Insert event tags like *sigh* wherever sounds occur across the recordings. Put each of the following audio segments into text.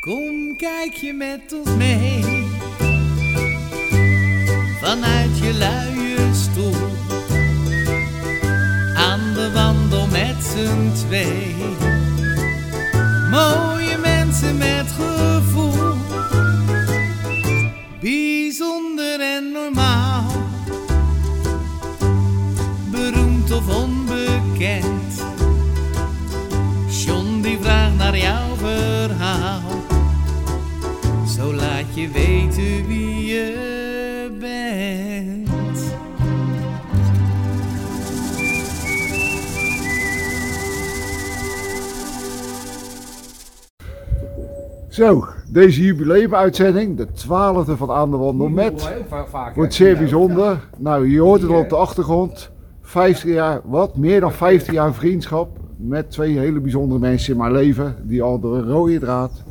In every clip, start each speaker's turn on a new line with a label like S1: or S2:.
S1: Kom, kijk je met ons mee. Vanuit je luie stoel. Aan de wandel met z'n twee. Mooie mensen met gevoel. Bijzonder en normaal. Beroemd of onbekend. John die vraagt naar jouw verhaal. Zo laat je weten wie je bent.
S2: Zo, deze jubileumuitzending, de twaalfde van Aan de Wandel met, wordt zeer bijzonder. Nou, je hoort het al op de achtergrond. 50 jaar, wat? Meer dan 50 jaar vriendschap met twee hele bijzondere mensen in mijn leven. Die al door een rode draad,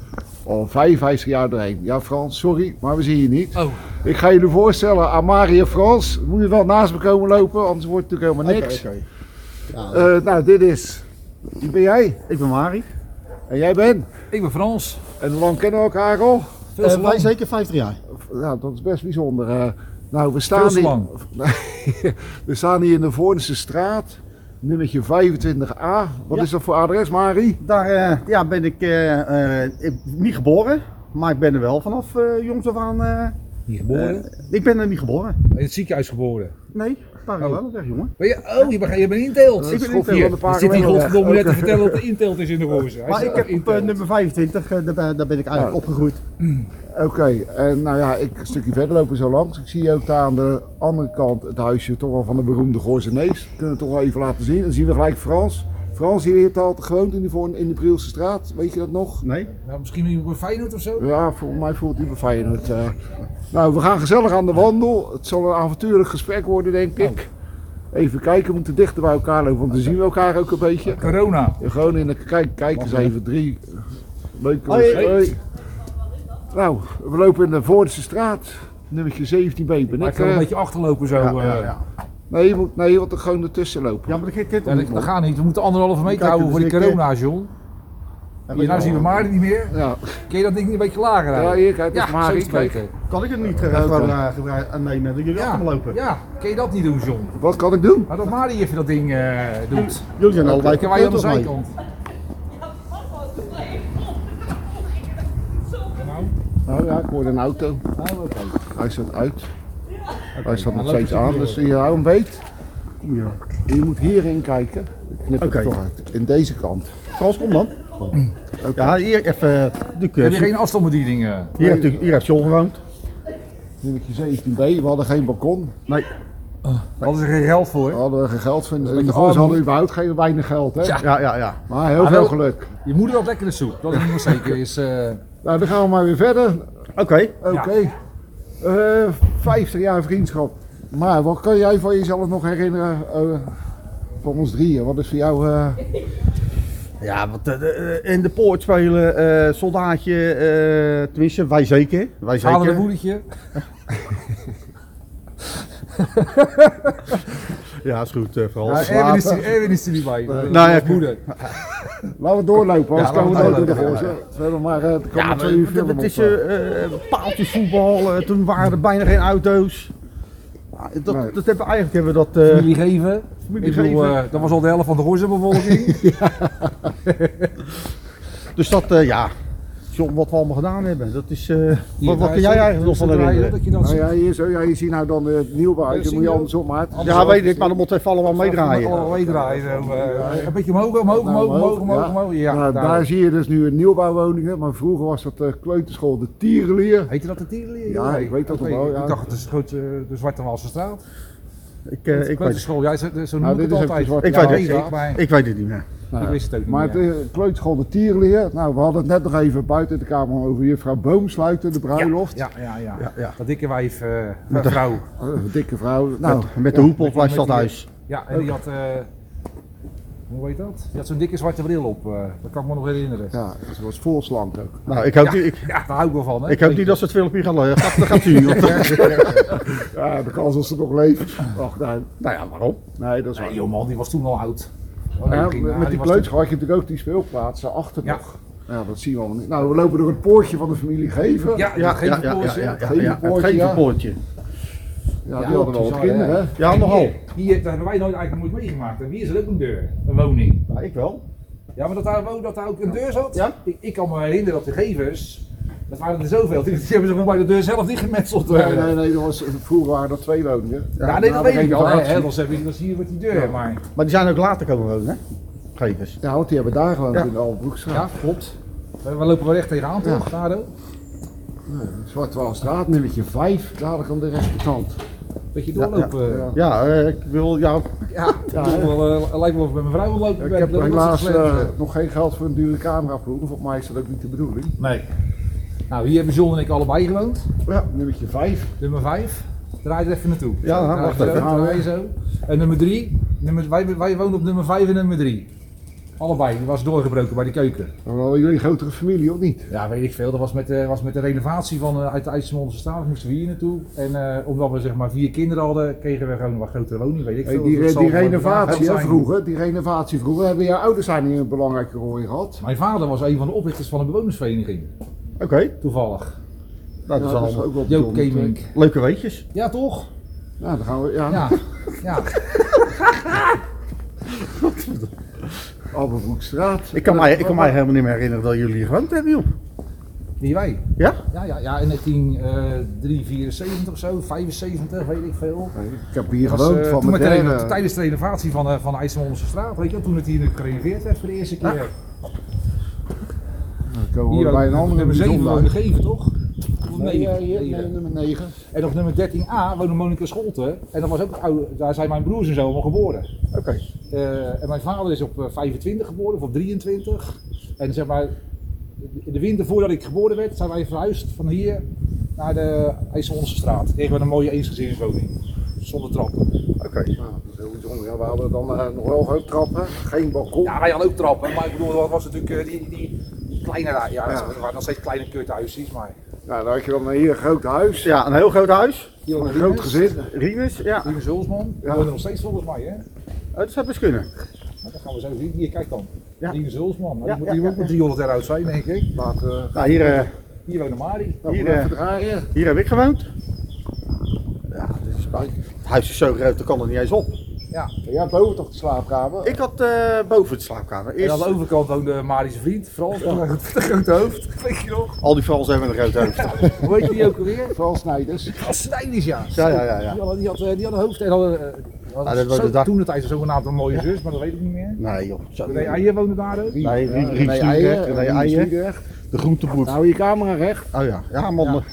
S2: al 55 jaar doorheen. Ja Frans, sorry, maar we zien je niet.
S1: Oh,
S2: Ik ga jullie voorstellen aan Marie en Frans. Moet je wel naast me komen lopen, anders wordt het natuurlijk helemaal niks.
S3: Oké, oké.
S2: Eh, nou, dit is, wie ben jij?
S3: Ik ben Mari.
S2: En jij bent?
S4: Ik ben Frans.
S2: En hoe lang kennen we elkaar al?
S4: Veel te lang.
S3: Eh, wij zeker 50 jaar.
S2: Nou, dat is best bijzonder. eh. nou, we staan,
S4: Veel te
S2: hier,
S4: lang.
S2: *laughs* we staan hier in de Voornse straat, nummertje 25a. Wat
S3: Ja.
S2: is dat voor adres, Mari?
S3: Daar eh, ja, ben ik, eh, eh, ik- niet geboren, maar ik ben er wel vanaf eh, jongs af aan. eh,
S4: Niet geboren.
S3: ik ben er niet geboren.
S4: in het ziekenhuis geboren.
S3: Nee, daar
S4: Oh.
S3: wel weg, jongen.
S4: Ben je, oh, je bent, je bent inteelt.
S3: Ik ben
S2: Schoffie,
S3: inteelt.
S2: want een paar
S4: Dan zit die
S2: geleden weg.
S4: godverdomme net te vertellen dat de inteelt is in de roze. Hij
S3: Maar
S4: zit
S3: ik
S4: op
S3: heb op eh,
S4: inteelt.
S3: nummer 25, eh, daar, ben- daar ben ik eigenlijk opgegroeid.
S2: Oké, en nou ja, ik een stukje verder lopen zo langs. Ik zie ook daar aan de andere kant het huisje toch wel van de beroemde Goorse Nees. Kunnen we toch wel even laten zien. Dan zien we gelijk Frans. Frans, hier heeft altijd gewoond in de, Voorn- in de Brielse straat. Weet je dat nog?
S3: Nee?
S4: Nou, misschien iemand bij Feyenoord of zo?
S2: Ja, volgens mij voelt hij me Feyenoord. eh. Nou, we gaan gezellig aan de wandel. Het zal een avontuurlijk gesprek worden, denk ik. Even kijken, we moeten dichter bij elkaar lopen, want dan zien we elkaar ook een beetje.
S4: Corona.
S2: Gewoon in de kijk, kijk eens even, drie. Leuk hoor.
S3: Hoi.
S2: Hoi. Nou, we lopen in de Voortse straat, nummertje 17b ben
S4: Maar ik
S2: ik.
S4: kan
S2: eh.
S4: een beetje achterlopen zo. eh.
S3: ja, ja.
S2: Nee, je moet, nee, je moet er gewoon ertussen lopen.
S3: Ja, maar dat kan- kan toch
S4: Ja,
S3: niet,
S4: dat, dat gaat niet. We moeten anderhalve meter
S3: Kijk,
S4: houden voor die
S3: dus ik-
S4: corona, John.
S3: man?
S4: Hier, nou zien we Mari niet meer.
S2: Ja,
S4: Kun je dat ding niet een beetje lager
S2: ja
S4: houden?
S2: hier, kijk, dat is
S4: zo
S2: Mari.
S4: is het beter.
S2: Kijk,
S3: Kan ik het niet eh,
S2: Ja,
S3: gewoon
S2: oké.
S3: eh, gebruiken? Ah, nee, nee, dat jullie
S4: Ja,
S3: achter me lopen.
S4: ja, kun je dat niet doen, John?
S2: wat kan ik doen?
S4: Maar dat Mari even dat ding eh, doet.
S3: Jullie zijn allebei
S4: Kijken wij aan de
S3: verkeerd, of
S4: zijkant.
S2: Nou ja, ik hoor een auto. Hij staat uit. Hij staat nog steeds aan, dus je hou hem beet.
S3: niet? Ja.
S2: Je moet hierin kijken. Ik knip
S3: Oké.
S2: het toch uit. In deze kant.
S3: Frans, kom dan. Ja, hier even. natuurlijk, eh,
S4: Heb je geen afstandsbedieningen?
S3: Hier heeft, hier heeft John gewoond.
S2: Nummertje 17b, we hadden geen balkon.
S3: Nee.
S4: Daar is er geen geld voor.
S2: We hadden geen geld. Vinden. In
S4: een
S2: de
S4: armoede.
S2: Goors hadden we überhaupt geen weinig geld. Hè?
S4: Ja.
S3: Ja, ja, ja.
S2: Maar heel
S4: Ah,
S2: veel
S4: wel-
S2: geluk.
S4: Je moeder had lekkere soep, dat is nog zeker. Is, eh,
S2: Nou, dan gaan we maar weer verder.
S3: Oké.
S2: Oké. Eh, 50 jaar vriendschap. Maar wat kan jij van jezelf nog herinneren? eh, van ons drieën. Wat is voor jou... eh,
S3: Ja, want eh, eh, in de poort spelen, eh, soldaatje, eh, tenminste, wij zeker. Wij
S4: vader en
S3: zeker.
S4: *laughs* moedertje.
S3: Ja, is goed, eh vooral.
S4: Ja, Erwin, is er, Erwin is er niet bij. Dat is
S3: Nou,
S4: mijn
S3: ja,
S4: moeder.
S2: Laten we doorlopen, anders
S4: Ja,
S2: komen we
S4: laten
S2: nooit
S4: we
S2: door de
S4: doorlopen,
S2: Goors. hè. We hebben maar... eh, er komen
S3: Ja,
S2: twee uur film
S3: het
S2: op,
S3: is
S2: eh.
S3: eh, eh, paaltjes voetbal, eh, toen waren er bijna geen auto's. Ja, dat,
S2: Nee.
S3: dat hebben, eigenlijk hebben we dat... eh
S4: Familie geven.
S3: Familie
S4: Ik bedoel,
S3: geven.
S4: eh, dat was al de helft van de Rozenbevolking.
S3: dus dat, eh, ja, John, wat we allemaal gedaan hebben, dat is... eh, wat wat kun jij eigenlijk nog van herinneren?
S4: eh, Dat je dat
S2: Nou
S4: ziet.
S2: ja, hier, zo, ja, hier zie je nou dan eh, het nieuwbouw.
S4: Ja,
S2: Dan
S4: zie
S2: moet je
S4: je.
S2: andersom, Maarten.
S3: Ja, weet ik, maar dan moet even allemaal meedraaien.
S4: Allemaal meedraaien. zo, eh, Een beetje omhoog, omhoog, omhoog, omhoog, omhoog. omhoog. Ja,
S2: Nou, daar,
S4: daar.
S2: zie je dus nu een nieuwbouwwoningen, maar vroeger was dat de kleuterschool de Tierenlier.
S4: Heette dat de Tierleer?
S2: Ja, ik weet dat nog wel, ja.
S4: Ik dacht, het is goed, eh, de Zwarte Walse straat.
S3: Ik, eh, ik,
S4: Ik
S3: weet,
S4: weet de school, jij zo zo
S2: Nou,
S4: noemt
S2: dit
S4: het
S2: is ook de
S4: altijd.
S2: Zwarte
S3: ik
S4: Ja,
S3: weet
S4: weet
S3: het,
S4: ik, maar
S3: ik weet het niet meer.
S2: Nou,
S4: ik wist het ook niet
S2: Maar
S4: meer.
S2: het is de kleuterschool de Tierenlier. Nou, we hadden het net nog even buiten de kamer over juffrouw Boomsluiter, de bruiloft.
S4: Ja, ja, ja.
S3: Ja, ja.
S4: Dat dikke wijf, eh, vrouw.
S2: Eh, dikke vrouw. Nou,
S3: Met de hoepel bij
S4: Met die-
S3: Stadhuis.
S4: Ja, en die had. eh, hoe heet dat? Die had zo'n dikke zwarte bril op. eh, dat kan ik me nog herinneren.
S2: ja, ze was vol slank ook.
S3: Nou, ik hoop,
S4: Ja,
S3: niet, ik,
S4: ja, daar hou ik wel van. Hè?
S3: ik hoop niet dat ze het filmpje gaan eh, gaat, gaat zien. want-
S2: Ja, de kans als ze nog leeft. Ach, nou,
S3: nou ja, waarom?
S2: nee, dat is waar.
S4: Nee, joh, man, die was toen al oud.
S2: Ja, met
S4: ging- eh, die
S2: die
S4: was toen-
S2: kleuterschool had je natuurlijk ook die speelplaatsen achter
S4: Ja.
S2: nog. Ja, dat zien we allemaal niet. Nou, we lopen door het poortje van de familie Geven.
S4: Ja, ja,
S3: Ja,
S4: geen
S3: ja, ja,
S4: verpoors,
S3: ja,
S4: hè?
S3: ja, ja,
S2: Geen
S3: ja, het
S2: poortje, ja.
S3: gevenpoortje.
S2: Ja,
S4: Ja,
S2: die hadden wel wat
S4: bizar,
S2: kinderen, hè?
S3: Ja,
S4: En
S3: nogal.
S4: Hier, hier, dat hebben wij nooit, eigenlijk nooit meegemaakt. En hier is er ook een deur, een woning.
S3: Ja, ik wel.
S4: Ja, maar dat daar, wo- dat daar ook een deur zat?
S3: Ja.
S4: Ik, ik kan me herinneren dat de gevers, dat waren er zoveel, *laughs* die, die hebben ze gewoon bij de deur zelf dichtgemetseld.
S2: Nee, nee, nee, dat was, vroeger waren dat twee woningen.
S4: Ja, nee, dat
S2: nou,
S4: weet
S2: we
S4: ik
S2: gingen
S4: wel. hè,
S2: daar-
S4: hè, Dat hebben we- dat zie je met die deur, maar...
S3: Maar die zijn ook later komen wonen, hè? Gevers.
S2: Ja, want die hebben daar gewoond
S3: Ja.
S2: in de Albroekstraat.
S4: Ja, klopt. We, we lopen wel echt tegenaan, toch, Daardoor.
S2: Zwart-Waalstraat, nummertje 5, dadelijk aan de rechterkant.
S4: Beetje
S3: ja.
S4: doorlopen. Ja,
S2: Ja.
S3: Ja, eh, ik wil jou.
S2: Ja,
S4: toch
S2: hè?
S4: wel, eh, lijkt wel of ik met mijn vrouw wil lopen.
S2: Ik
S4: ben.
S2: heb
S4: Dat- dat is
S2: helaas
S4: slecht,
S2: eh,
S4: eh.
S2: nog geen geld voor een dure cameraploeg. Volgens mij is dat ook niet de bedoeling.
S4: Nee. Nou, hier hebben John en ik allebei gewoond.
S2: Ja, nummertje 5.
S4: Nummer 5. Draai er even naartoe.
S3: Ja,
S4: Draai
S3: wacht
S4: zo,
S3: even.
S4: Draai zo. En nummer 3. Nummer, wij, wij woonden op nummer 5 en nummer 3. Allebei. Die was doorgebroken bij de keuken.
S2: Wel jullie een grotere familie, of niet?
S4: Ja, weet ik veel. Dat was met, de- was met de renovatie van, eh, uit de IJsselmondse staat. Moesten we hier naartoe. En eh, omdat we zeg maar vier kinderen hadden, kregen we gewoon een wat grotere woning. Weet ik
S2: Hey,
S4: veel.
S2: die,
S4: Dat
S2: re-
S4: zal
S2: die
S4: wel
S2: renovatie hè,
S4: zijn.
S2: vroeger, die renovatie vroeger, hebben jouw ouders daar niet een belangrijke rol in gehad?
S4: Mijn vader was een van de oprichters van een bewonersvereniging.
S3: Oké,
S4: Toevallig.
S3: nou, dat
S2: Ja,
S3: is allemaal
S2: ook wel
S4: Joop
S2: bijzonder.
S4: Kemink.
S3: leuke weetjes.
S4: Ja, toch?
S2: Nou, dan gaan we, ja,
S4: Ja. ja.
S2: Alberbroekstraat.
S3: Ik kan, mij, ik kan mij helemaal niet meer herinneren dat jullie hier gewoond hebben, joh.
S4: Die wij.
S3: Ja?
S4: Ja, ja, ja, in eh, 1974 of zo, 75, weet ik veel.
S2: Ik heb hier
S4: Dat was,
S2: gewoond
S4: eh,
S2: van
S4: toen
S2: mijn
S4: met de reno-
S2: derde.
S4: tijdens de renovatie van, eh van de IJsselmondse straat, weet je wel, toen het hier gerenoveerd werd voor de eerste keer.
S2: Dan komen we
S4: hier
S2: bij
S4: ook
S2: eh, een andere
S4: nummer 7
S2: bijzonder.
S4: woonde Geven, toch? Of
S2: Nee,
S4: negen?
S2: eh, hier, nee,
S4: Negen.
S2: nummer 9.
S4: En op nummer 13a woonde Monika Scholte. En dat was ook, het oude, daar zijn mijn broers en zo allemaal geboren.
S3: Oké.
S4: Eh, en mijn vader is op eh, 25 geboren, of op 23. En zeg maar, in de winter voordat ik geboren werd, zijn wij verhuisd van hier naar de IJsselhondse straat. Kregen we een mooie eensgezinswoning. Zonder trappen.
S3: Oké.
S2: Ja, dat is heel bijzonder. Ja, we hadden dan eh, nog wel groot trappen, geen balkon.
S4: Ja, wij hadden ook trappen, maar ik bedoel, dat was natuurlijk eh, die, die, die kleine, ja,
S2: Ja.
S4: dat waren nog steeds kleine kuthuisjes, maar...
S2: Nou, dan had je dan een heel groot huis,
S3: Ja, een heel groot huis.
S2: een groot gezin.
S3: Rinus, ja.
S4: Hier Hulsman, die
S2: Ja.
S4: woont er nog steeds volgens mij, hè?
S3: Oh, Dat zou best kunnen.
S4: Nou, dat gaan we zo zien. Hier, kijk dan.
S3: Ja.
S4: Ja. Hulsman, nou,
S3: Ja,
S4: die moet
S3: ja,
S4: die
S3: ja,
S4: moet ook met 300 jaar oud zijn, denk ik.
S2: Laten we
S3: Nou, hier, eh,
S4: Hier woonde Mari.
S2: nou,
S3: Hier,
S2: even
S3: eh,
S2: draaien.
S3: hier heb ik gewoond. Ja, dit is bij- Het huis is zo groot, dat kan er niet eens op.
S4: eh,
S2: Ja, boven toch de slaapkamer?
S3: Ik had eh, boven de slaapkamer.
S4: En aan
S3: Eerst
S4: de overkant woonde Mari's vriend, Frans, met een grote hoofd. Weet je nog?
S3: al die Fransen hebben een groot hoofd.
S4: Hoe heet die ook alweer?
S2: Vooral snijders.
S4: Snijdisch, ja.
S3: *laughs* Ja, ja, ja, ja.
S4: Die had, die had, eh, die had een hoofd en had, eh, had
S3: Ah, dat was
S4: zo-
S3: de dag-
S4: toen de tijd zogenaamd een mooie zus, maar dat weet ik niet meer.
S3: Nee joh, zo
S4: Nee, Ayer woonde daar ook.
S3: Nee, Rie- Rie-
S2: nee,
S3: Rie-
S2: eieren,
S3: Rie- Rie-
S2: Rie-
S3: eieren.
S2: Rie-
S3: de groenteboer.
S2: Nou, je camera recht.
S3: Oh ja, ja man,
S4: Ja.
S3: de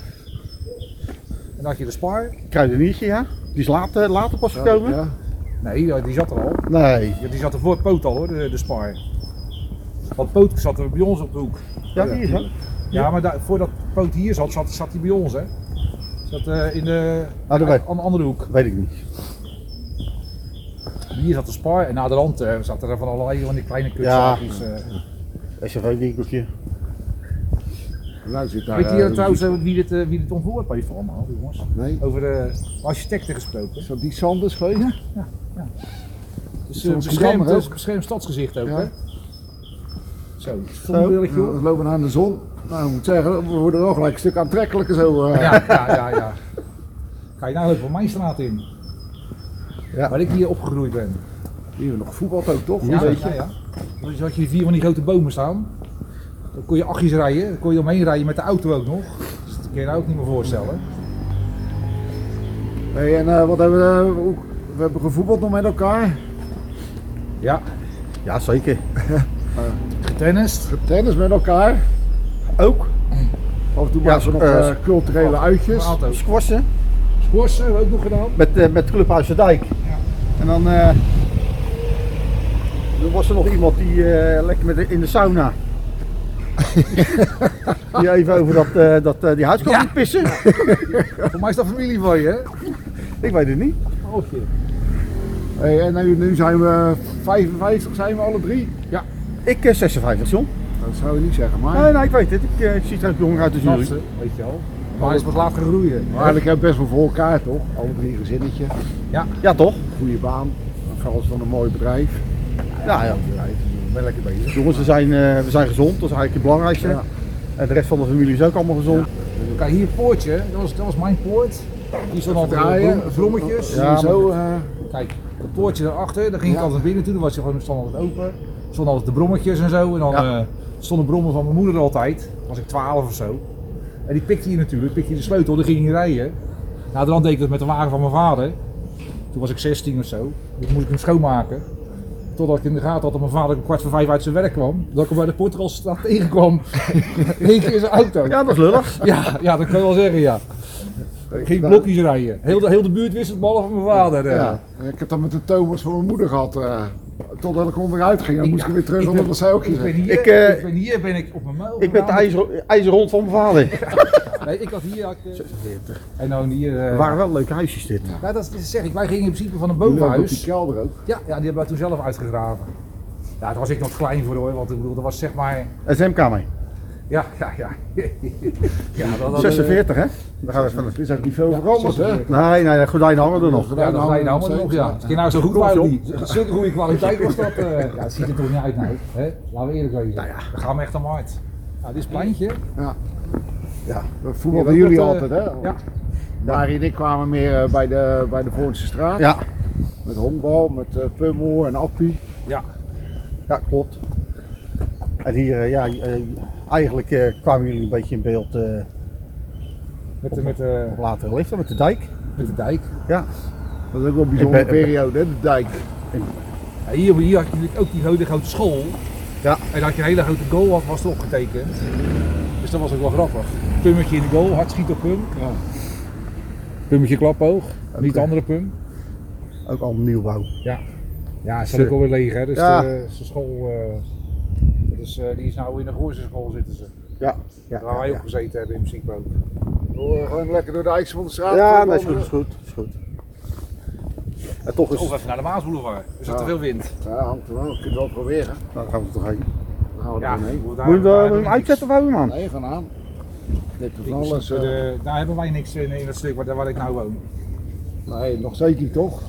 S4: En dan had je de Spar.
S3: kruideniertje ja. Die is later, later pas gekomen.
S2: Ja.
S4: Nee, ja, die zat er al.
S3: Nee.
S4: Ja, Die zat er voor Poot al hoor, de, de Spar. Want Poot zat er bij ons op de hoek.
S3: Ja, die is hè.
S4: Ja, maar daar- voordat Poot hier zat, zat, zat hij bij ons hè. Zat eh, in de,
S3: Ah, dat weet-
S4: aan de andere hoek.
S3: Weet ik niet.
S4: Hier zat de spar en na de rand eh, zat er van allerlei van die kleine kutzaakjes. eh.
S3: SFV-winkeltje.
S2: Nou zit daar...
S4: Weet je
S2: eh,
S4: trouwens eh, wie dit, eh, wie dit ontworpen heeft allemaal, jongens?
S2: Nee.
S4: Over de architecten gesproken.
S2: Is dat die Sanders geweest?
S4: Dus
S2: Zo'n
S4: een beschermd,
S2: Amsterdammer ook.
S4: eh, beschermd stadsgezicht ook,
S2: Ja.
S4: hè? Zo, zonnebrilletje
S2: Ja,
S4: hoor.
S2: we lopen naar de zon. Nou, ik moet zeggen, we worden wel gelijk een stuk aantrekkelijker zo. eh.
S4: Ja, ja, ja, ja. Ga je nou ook van mijn straat in?
S3: Ja.
S4: Waar ik hier opgegroeid ben.
S2: Hier hebben we nog voetbal ook, toch?
S4: Ja,
S2: Een beetje.
S4: ja, ja. Dus had je vier van die grote bomen staan. Dan kon je achtjes rijden, dan kon je omheen rijden met de auto ook nog. Dus dat kun je nou ook niet meer voorstellen.
S2: Hey, en eh, wat hebben we... eh, hoe- we hebben gevoetbald nog met elkaar.
S4: Ja,
S3: Ja, zeker.
S4: getennist.
S2: Tennis met elkaar.
S3: Ook.
S2: Af en toe
S3: Ja,
S2: maken we nog
S3: eh,
S2: eh, culturele uitjes.
S4: Auto.
S3: Squassen.
S4: Squash hebben we ook nog gedaan.
S3: Met, eh, met Club Huizendijk. En dan... eh, toen was er nog iemand die eh, lekker met de- in de
S4: *laughs*
S3: sauna. die even over dat, eh, dat, eh, die huis kwam niet pissen.
S4: Voor mij is dat familie van je, hè?
S3: ik weet het niet.
S4: Halfje.
S2: Hey, en nu, nu zijn we 55, zijn we alle drie?
S3: Ik eh, 56, John.
S2: Dat zou je niet zeggen, maar...
S3: Nee, nee, ik weet het. Ik, eh, ik zie er ook jonger uit als jullie.
S4: Knapste, weet je wel. Maar hij is wat laat gegroeien.
S2: Maar eigenlijk hebben we best wel voor elkaar, toch? Alle drie gezinnetje.
S3: Ja, toch?
S2: goede baan. Vooral van een mooi bedrijf.
S3: Ja, ja.
S4: ben lekker bezig.
S3: Jongens, we zijn, eh, we zijn gezond, dat is eigenlijk het belangrijkste.
S4: Ja.
S3: En de rest van de familie is ook allemaal gezond.
S4: Kijk, hier poortje, dat was, dat was mijn poort. Die stond al
S2: Draaien.
S4: draaien, vlommetjes.
S3: Ja, maar-
S2: zo, eh,
S4: Kijk, het poortje daarachter, daar ging ik
S2: Ja.
S4: altijd binnen toe, dan was je gewoon, stond altijd open. Stonden altijd de brommetjes en zo. En dan
S3: Ja.
S4: eh, stonden brommen van mijn moeder er altijd. Toen was ik 12 of zo. En die pikte je natuurlijk, pikte je de sleutel, dan ging je rijden. Nou, dan deed ik dat met de wagen van mijn vader. Toen was ik 16 of zo. Dus moest ik hem schoonmaken. Totdat ik in de gaten had dat mijn vader om kwart voor vijf uit zijn werk kwam. Dat ik hem bij de Portugalstraat tegenkwam. In één keer in zijn auto.
S3: Ja, dat is lullig.
S4: Ja, ja, dat kan je wel zeggen, ja. Ik ging blokjes rijden. Heel de, heel de buurt wist het ballen van mijn vader. eh.
S2: ja. Ik heb dat met de Thomas van mijn moeder gehad. eh, totdat ik onderuit ging. Dan moest ik weer terug
S4: Ik
S2: omdat
S4: ben,
S2: dat zij ook
S4: ik ben hier,
S3: Ik,
S4: ik,
S3: eh,
S4: ben hier ben ik op mijn muil.
S3: Ik ben de
S4: gedaan.
S3: ijzer, ijzerhond van mijn vader.
S4: Nee, ik had hier. had ik, eh, en dan hier. eh
S3: Het waren wel leuke huisjes dit.
S4: nou, dat is- zeg ik. Wij gingen in principe van een
S2: Jullie hadden ook die
S4: bovenhuis.
S2: kelder ook.
S4: Ja, ja, die hebben we toen zelf uitgegraven. Ja, daar was ik nog klein voor hoor, want ik bedoel, dat was zeg maar.
S3: SMK mee.
S4: Ja, ja, ja. ja dat, dat,
S3: 46 hè? eh, Daar gaan we van
S2: Er is eigenlijk niet veel veranderd, hè?
S3: Nee, nee, de gordijnen hangen er nog.
S4: Ja, dat
S2: hangen
S4: ga je nou
S2: nog
S4: allemaal nog,
S2: steeds,
S4: ja.
S2: ja.
S4: Als je nou zo goed
S3: Klopt,
S4: waren,
S3: joh.
S4: die *laughs* zulke goede kwaliteit was dat. *laughs* eh. ja, het ziet er toch niet uit nou, hè? Laten we eerlijk zijn. Nou ja. We gaan hem echt om hard. Nou, dit is pleintje.
S2: Dat
S4: Hier
S2: voetbalden
S4: was
S2: jullie
S4: dat, eh,
S2: altijd, hè?
S4: Ja.
S2: Mari en ik kwamen meer eh, bij de, bij de Voornse straat.
S3: Ja,
S2: Met honkbal, met eh pummel en appie.
S4: Ja.
S3: ja klopt. En hier, eh, ja, eh, eigenlijk eh, kwamen jullie een beetje in beeld eh,
S4: Met, de- met, de-
S3: op latere leeftijd met de dijk.
S4: met de dijk.
S2: Dat is ook wel een bijzondere
S3: Ik ben-
S2: periode, hè? De dijk.
S4: Ja, hier, hier had je natuurlijk ook die hele grote school.
S3: Ja.
S4: En dat je een hele grote goal had, was erop getekend. Dus dat was ook wel grappig. Pummetje in de goal, hard schiet op pum.
S2: Ja.
S4: Pummetje klaphoog, niet de andere pum.
S3: Ook al nieuwbouw.
S4: Ja, ze zijn ook alweer leeg hè, dus
S3: Ja.
S4: de, is de school... eh, dat is, eh, die is nou in de Gooise school zitten ze.
S3: Ja,
S4: Waar
S3: ja,
S4: wij ook
S3: ja.
S4: gezeten hebben in principe ook.
S2: Door, gewoon lekker door de eikse van de straat.
S3: ja
S2: voetballen.
S3: nee, is goed, is goed, is goed. En toch is
S4: Of even naar de Maasboulevard, er zit
S2: Ja.
S4: te veel wind.
S2: Ja, hangt er wel. Je kunt wel proberen.
S3: Nou, gaan we er toch heen.
S2: Dan gaan we er doorheen.
S4: Moet
S3: Moet je hem uitzetten of houden we hem aan?
S2: Nee, gaan aan. Dit is
S4: Daar
S2: alles. eh,
S4: hebben wij niks in, in dat stuk waar, waar ik nou woon.
S2: nee, nog steeds niet, toch?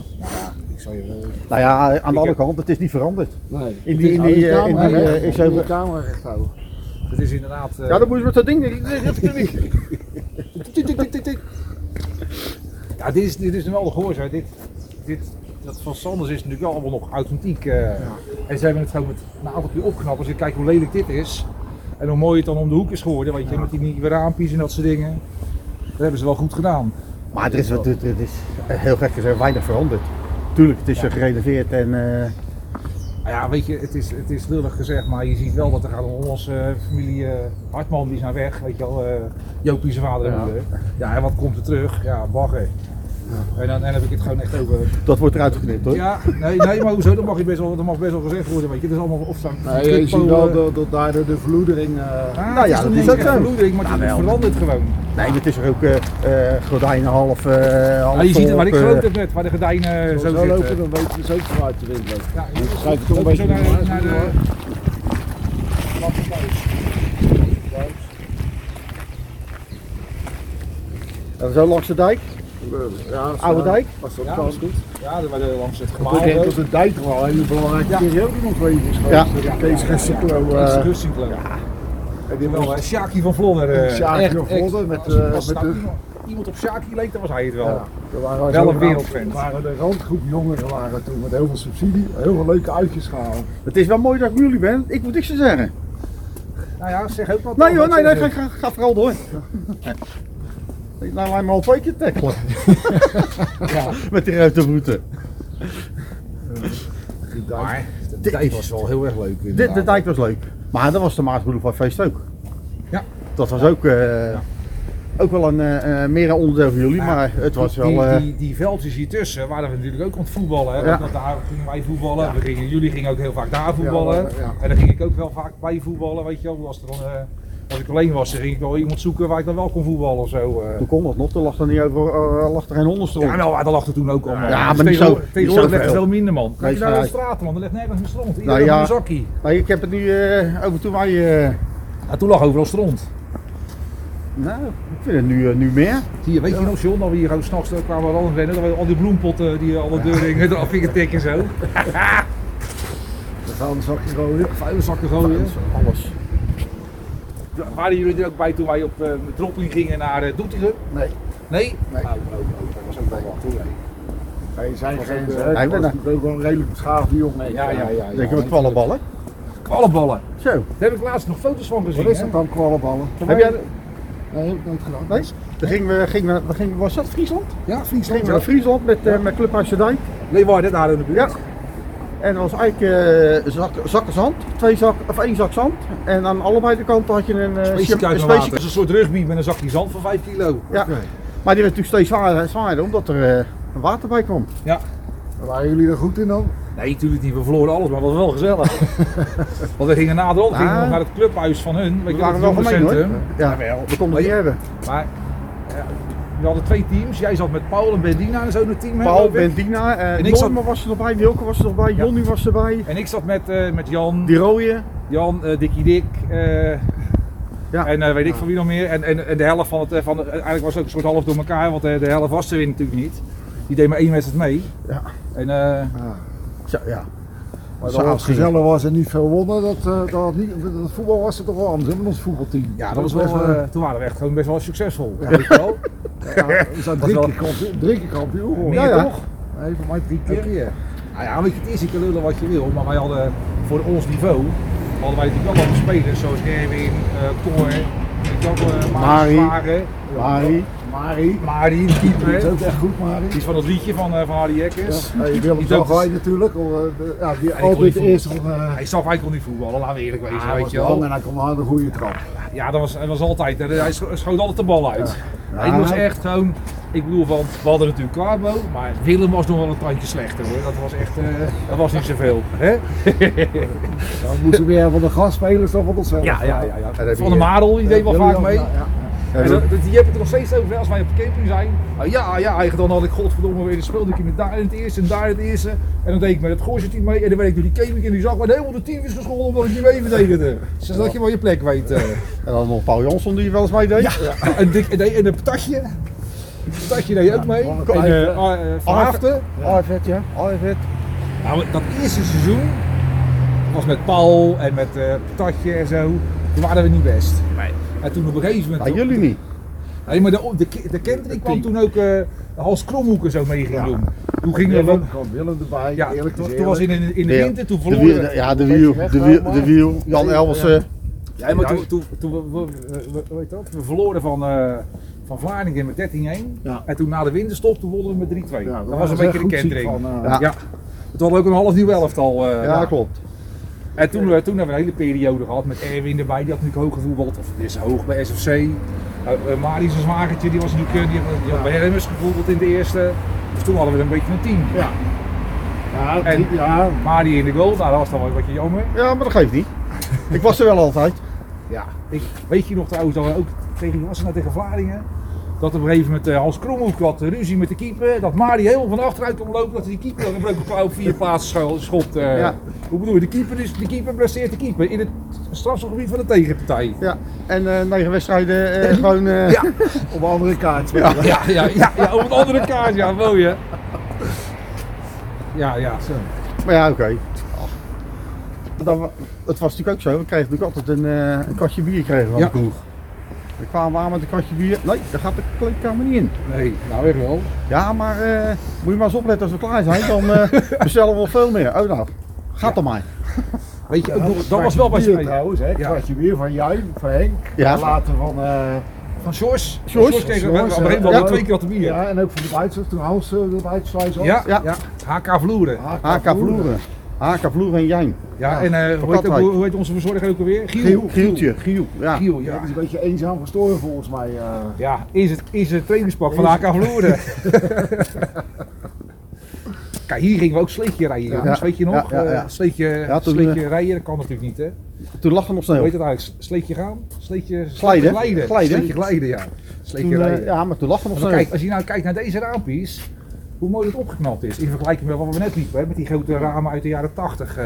S4: Ik zou je,
S3: Nou ja, aan de andere
S4: heb-
S3: kant, het is niet veranderd.
S2: Nee.
S3: In die, in die, eh, in die, eh, is
S2: in die
S3: over-
S2: camera recht houden.
S4: het is inderdaad... eh,
S3: Ja, dan moet je met dat ding. niet- dat kan niet.
S4: Ja, dit is, dit is nu wel de gehoorzaam. Dit, dit, dat van Sanders is natuurlijk wel allemaal nog authentiek. eh. En ze hebben het gewoon met een aantal keer opknappen. Als je kijkt hoe lelijk dit is. En hoe mooi het dan om de hoek is geworden. Weet je, met die nieuwe raampjes en dat soort dingen. Dat hebben ze wel goed gedaan.
S3: Maar er is, wat- er, er is eh, heel gek gezegd weinig veranderd. Tuurlijk, het is
S4: Ja.
S3: gerenoveerd en eh,
S4: Nou ja, weet je, het is, het is lullig gezegd. Maar je ziet wel dat er gaat een Hollandse eh, familie eh, Hartman, die is naar weg. Weet je wel, eh, Jopie zijn vader en
S3: Ja.
S4: moeder. Ja, en wat komt er terug? Ja, bagger. En dan, en dan heb ik het gewoon echt over
S3: dat wordt eruit geknipt hoor.
S4: Ja, nee, nee, maar hoezo? Dat mag, je best wel, dat mag best wel gezegd worden, weet je. Dat is allemaal of zo'n
S2: Nee, je
S4: kippo,
S2: ziet wel
S4: eh,
S2: dat, dat daardoor de vloedering. eh
S4: ah,
S3: Nou ja,
S4: het
S3: dat
S4: is
S3: is
S4: toch
S3: ook
S4: niet echt
S3: zo.
S4: bloederig, maar het
S3: Nou,
S4: is
S3: wel.
S4: veranderd gewoon.
S3: Nee, maar het is er ook eh, eh, gordijnen half. eh half
S4: Ja, Ah, Nou, je ziet het, maar ik
S3: op, eh,
S4: geloof het net, waar de gordijnen
S2: zo
S4: eh,
S2: zo
S4: zo zitten.
S2: lopen, dan weet je zeker vanuit de wind loopt.
S4: Ja,
S2: Dan
S4: hier
S2: schrijf ik toch een
S4: lopen
S2: beetje
S4: zo
S2: naar,
S4: naar, naar de...
S3: en zo langs de dijk,
S2: Ja, als-
S3: Oude Dijk.
S2: Als dat
S4: Ja,
S2: kan.
S4: dat is goed. Ja, daar waar de- langs het
S2: Ik denk
S4: gemaal.
S2: dat de dijk wel een hele belangrijke
S4: Ja.
S2: periode nog geweest is.
S3: Ja.
S2: geweest. Dat Kees Gessiklo.
S4: Dat
S2: eh,
S4: is de Ja,
S2: en die
S4: wel,
S2: was-
S4: eh, Sjaki van Vlodder. eh,
S2: Sjaki
S4: echt,
S2: van
S4: echt.
S2: Vlodder met,
S4: Als-
S2: eh,
S4: als
S2: met
S4: nou
S2: de-
S4: iemand- Iemand op Sjaki leek, dan was hij het wel.
S2: Ja, er waren
S4: Wel een
S2: zo'n-
S4: wereldvent.
S2: er waren de randgroep jongeren waren toen met heel veel subsidie, heel veel leuke uitjes gehaald.
S3: Het is wel mooi dat ik bij jullie ben, ik moet niks te zeggen.
S4: Nou ja, zeg ook wat.
S3: Nee hoor,
S4: Wat
S3: nee, nee,
S4: zeggen
S3: ga, ga, ga vooral
S4: *laughs*
S3: door. Ik laat mij maar al twee keer tackelen.
S4: *laughs* Ja.
S3: Met die grote voeten.
S2: Die
S4: ze?
S2: dijk.
S4: Maar de dijk was wel heel erg leuk.
S3: Dit,
S4: inderdaad.
S3: de dijk was leuk. Maar dat was de Maasboulevardfeest ook.
S4: Ja.
S3: Dat was ook, eh,
S4: Ja.
S3: ook wel een eh, eh, meer een onderdeel van jullie,
S4: Ja,
S3: maar het was
S4: die,
S3: wel... eh,
S4: die, die veldjes hiertussen waren we natuurlijk ook aan het voetballen. Hè?
S3: Ja.
S4: Want daar gingen wij voetballen. We gingen, jullie gingen ook heel vaak daar voetballen.
S2: Ja, ja.
S4: En dan ging ik ook wel vaak bij voetballen. Weet je wel. Als, er dan, eh, als ik alleen was, dan ging ik wel iemand zoeken waar ik dan wel kon voetballen of zo. eh.
S3: Toen kon dat nog, toen lag er, niet over, eh, lag er geen honderstroom.
S4: Ja, nou, dat lag er toen ook allemaal.
S3: Ja, maar
S4: Dus
S3: niet zo-
S4: tegenwoordig-
S3: niet
S4: Tegenwoordig
S3: zo
S4: legt het
S3: veel.
S4: wel minder, man. Kijk
S3: Nee,
S4: je naar de
S3: vanuit.
S4: straten, man. Er legt nergens een stront. Iedereen
S3: Nou,
S4: heeft
S3: ja.
S4: een zakkie.
S3: Maar ik heb het nu eh, over toen wij... eh,
S4: Ja, toen lag overal stront.
S3: nou, ik vind het nu, eh, nu meer.
S4: Hier, weet je nog, John, dat we hier gewoon s'nachts eh, kwamen we al eh, rennen. Dat we al die bloempotten die alle deuren eraf gingen tikken en zo.
S2: Dat vuilniszakken gooien.
S4: vuilniszakken gooien.
S3: Alles.
S4: Waren jullie er ook bij toen wij op eh dropping gingen naar eh Doetinchem?
S2: Nee.
S4: Nee?
S2: Nee.
S4: Nou, ook, ook, dat was ook wel wat hoor.
S2: Wij zijn geen.
S4: ook, eh,
S2: hè.
S3: hij
S2: Ik was
S3: werd-
S2: natuurlijk ook wel een redelijk beschaafde jongen.
S4: Ja, ja, ja. ja.
S3: Denk je met kwallenballen?
S4: Kwallenballen.
S3: Zo.
S4: Daar heb ik laatst nog foto's van gezien.
S2: Wat is
S4: hè?
S2: dat dan, kwallenballen?
S3: Heb jij,
S2: Nee, heb ik nooit gedaan.
S3: nee? Dan gingen we, gingen we, waar gingen we- was dat Friesland?
S4: Ja,
S3: Gingen
S4: Friesland.
S3: we naar
S4: Ja.
S3: Friesland met, eh, met Club Amsterdam.
S4: Leeuwarden, daar in de buurt.
S3: Ja. En dat was eigenlijk eh, zak, zakken zand, twee zak, of één zak zand. En aan allebei de kanten had je een eh,
S4: Specifiek
S3: een
S4: uit het
S3: specie-
S4: water. Dat is een soort rugby met een zakje zand van 5 kilo.
S3: Ja. Maar die werd natuurlijk steeds zwaarder en zwaarder omdat er eh, water bij kwam.
S2: Waren jullie er goed in dan?
S4: Nee, natuurlijk niet. We verloren alles, maar het was wel
S3: *laughs*
S4: gezellig. Want we gingen na de hand gingen we
S3: Ah.
S4: nog naar het clubhuis van hun.
S3: We waren wel gemeen hoor. Ja,
S4: Jawel.
S3: we konden het niet hebben.
S4: Maar ja, we hadden twee teams. Jij zat met Paul en Bendina en zo'n team. hè,
S3: Paul,
S4: geloof ik.
S3: Bendina, eh
S4: En ik zat-
S3: Norman was er nog bij, Wilke was er nog bij,
S4: Ja.
S3: Jonny was erbij.
S4: En ik zat met, eh, met Jan,
S3: Die rode.
S4: Jan, eh, Dikkie Dik. eh,
S3: Ja.
S4: En eh, weet ik van wie nog meer. En, en, en de helft van het. eh, Van, de- eigenlijk was het ook een soort half door elkaar, want eh, de helft was er weer natuurlijk niet. Die deed maar één wedstrijd mee.
S3: Ja.
S4: En, eh,
S3: Zo, ja.
S2: Maar
S3: dat
S2: dat
S3: was
S2: het gezellig was en niet veel wonnen, dat, eh, dat, had niet, dat voetbal was het toch wel anders hè, met ons voetbalteam.
S4: ja, dat was wel,
S2: echt, eh,
S4: eh, toen waren we echt gewoon best wel succesvol. Weet je wel?
S2: ja, we zijn
S4: was
S2: drie
S4: wel-
S2: keer kampioen- drie keer kampioen geworden.
S4: Ja,
S3: ja.
S4: toch?
S2: Nee, voor mij drie keer.
S4: Oké. Nou ja, weet je, het is, je kan lullen wat je wil, maar wij hadden voor ons niveau, hadden wij natuurlijk wel wat spelers zoals Erwin, eh Cor, weet je wel, eh,
S3: Mari.
S4: Marius Varen,
S3: Mari.
S2: Mari,
S4: Mari, de
S2: die is
S4: keeper,
S2: ook echt goed, Mari.
S4: die is van het liedje van, eh, van Harry Jekkers.
S2: Ja, je wil hem
S4: Die
S2: zo
S4: dood is-
S2: gooien natuurlijk. hoor, eh, de- Ja, die
S4: ik wil
S2: altijd
S4: niet
S2: de eerste van... eh,
S4: Hij zag eigenlijk al niet voetballen, laten we eerlijk wezen,
S2: Ah, hij
S4: weet
S2: was
S4: je
S2: lang
S4: wel.
S2: en hij kon hard een goede trap.
S4: Ja, dat was, dat was altijd, eh, hij scho- schoot altijd de bal uit. Hij
S2: Ja,
S4: was
S2: hij-
S4: echt gewoon, ik bedoel, want we hadden natuurlijk Carbo, maar Willem was nog wel een tandje slechter hoor. Dat was echt, eh, dat was niet zoveel. Hè?
S2: Dan moesten we weer van de gastspelers dan van onszelf.
S4: Ja, ja, ja.
S3: heb
S4: ja.
S3: je-
S4: Van der Marel, die deed wel
S2: Ja,
S4: vaak
S2: ja,
S4: mee.
S2: ja, ja.
S4: En dat, dat- die heb ik er nog steeds over hè, als wij op de camping zijn. Ah, ja, ja, eigenlijk dan had ik godverdomme weer een speeldoekje met daar in het eerste en daar in het eerste. En dan deed ik met het Gooise team mee en dan werd ik door die camping en die zag maar helemaal de team is gescholden omdat ik niet mee verdedigde. Zodat je wel je plek weet. eh.
S3: En dan nog Paul Jansson die wel eens mee deed.
S4: En, dik, en, en een patatje. Patatje deed ook mee.
S2: man,
S4: En
S2: Arvid.
S4: eh, ah, eh, Van Haften.
S3: Arvid, ja. Arvid.
S4: Nou, dat eerste seizoen was met Paul en met eh Patatje en zo. Toen waren we niet best. En toen op een gegeven moment...
S3: Maar jullie niet.
S4: Nee, maar de, de, de Kent, die kwam toen ook eh Hans Kromhoeken zo mee ging doen. Toen gingen we...
S2: Willem, kwam Willem erbij,
S4: Ja,
S2: eerlijk
S4: toen,
S2: gezegd.
S4: toen was in, in, in de
S3: Ja.
S4: winter, toen
S3: De
S4: verloren
S3: wiel-
S4: we.
S3: de- Ja, de wiel, de wiel, de wiel. Jan
S2: Ja,
S3: Elwersen.
S4: Ja, maar toen, toen, toen we, we,
S2: Eh,
S4: we- we- weet je wat, we verloren van, eh van Vlaardingen met 13-1.
S2: Ja.
S4: En toen na de winterstop, toen wonnen we met 3-2.
S2: Ja, daar
S4: dat was een
S2: was echt
S4: beetje de
S2: goed ziek
S4: kentering.
S2: van, eh.
S4: ja. Ja. Het was ook een half nieuw elftal. eh,
S3: Ja, klopt.
S4: En toen, eh, toen hebben we een hele periode gehad met Erwin erbij, die had natuurlijk hoog gevoetbald. Of die is hoog bij SFC. Uh, uh, Marius een zwagertje, die was natuurlijk, eh, die, had- die had bij Remmers gevoetbald in de eerste. Dus toen hadden we een beetje een team.
S2: Ja. Ja,
S4: En-
S2: drie- ja,
S4: Mari in de goal, nou, dat was dan wel een beetje jammer.
S3: Ja, maar dat geeft *laughs* niet. Ik was er wel altijd.
S4: Ja. Ik, weet je nog trouwens dat we ook tegen, was het nou tegen Vlaardingen? Dat op een gegeven moment eh, Hans Kromhoek had eh, ruzie met de keeper. Dat Mari helemaal van achteruit kon lopen. Dat die keeper dan een broken klauw op vier plaatsen scho- schopt. eh.
S3: Ja.
S4: Hoe bedoel je? De keeper, is, de keeper blesseert de keeper in het strafschopgebied van de tegenpartij.
S3: Ja. En eh, negen wedstrijden eh, gewoon. eh, *laughs*
S4: Ja.
S2: op een andere kaart.
S4: Ja, ja, ja, ja, op een andere kaart, ja, mooi hè. Ja, ja, zo.
S3: Maar ja, oké. Dan wa- Het was natuurlijk ook zo. We kregen natuurlijk altijd een, eh, een kastje bier kregen van
S4: Ja.
S3: de kroeg. We kwamen aan met een kastje bier. Nee, daar gaat de kleedkamer niet in.
S4: Nee, nou echt wel.
S3: Ja, maar eh, moet je maar eens opletten als we klaar zijn. Dan *laughs* eh, bestellen we wel veel meer. Oh nou, gaat dan maar.
S4: Weet je, ook nog, dat was wel bij
S2: bier
S4: Spanje.
S2: trouwens, hè.
S4: Ja.
S2: Kwartje bier van jij, van Henk.
S3: Ja.
S2: En later van... eh,
S4: Van Sjors.
S3: Sjors.
S4: tegen, we- we
S2: Sjors,
S4: hadden
S2: eh,
S4: helemaal
S2: ja.
S4: twee keer dat de bier. Ja,
S2: ja, en ook van de Duitsers, toen Hans eh, de uitsluis had.
S4: ja,
S3: Ja.
S4: HK Vloeren.
S3: HK Vloeren. HK Vloeren en Jijn.
S4: Ja, en eh, hoe, heet ook,
S3: Katwijk.
S4: hoe heet onze verzorger ook alweer? Giel.
S3: Nou, Giel, Gieltje, Giel. Ja.
S4: Giel,
S2: Ja,
S4: ja.
S2: die is een beetje eenzaam gestorven volgens mij. eh.
S4: Ja, is het, is het trainingspak van HK
S3: *laughs*
S4: Vloeren. Kijk, hier gingen we ook sleetje rijden, jongens,
S3: Ja.
S4: weet je nog?
S3: Ja, ja, ja.
S4: Eh, Sleetje,
S3: Ja, toen, eh,
S4: sleetje rijden, dat kan natuurlijk niet hè.
S3: Toen lag er nog
S4: Hoe
S3: sneeuw.
S4: heet het eigenlijk? Sleetje gaan? Sleetje
S3: Glijden.
S4: Glijden.
S3: Glijden.
S4: Sleetje glijden, ja.
S3: Toen,
S4: Sleetje
S3: eh,
S4: rijden.
S3: ja, maar toen lag er nog
S4: Maar
S3: sneeuw.
S4: kijk, als je nou kijkt naar deze raampies, hoe mooi het opgeknapt is. In vergelijking met wat we net liepen, hè, met die grote ramen uit de jaren 80. eh.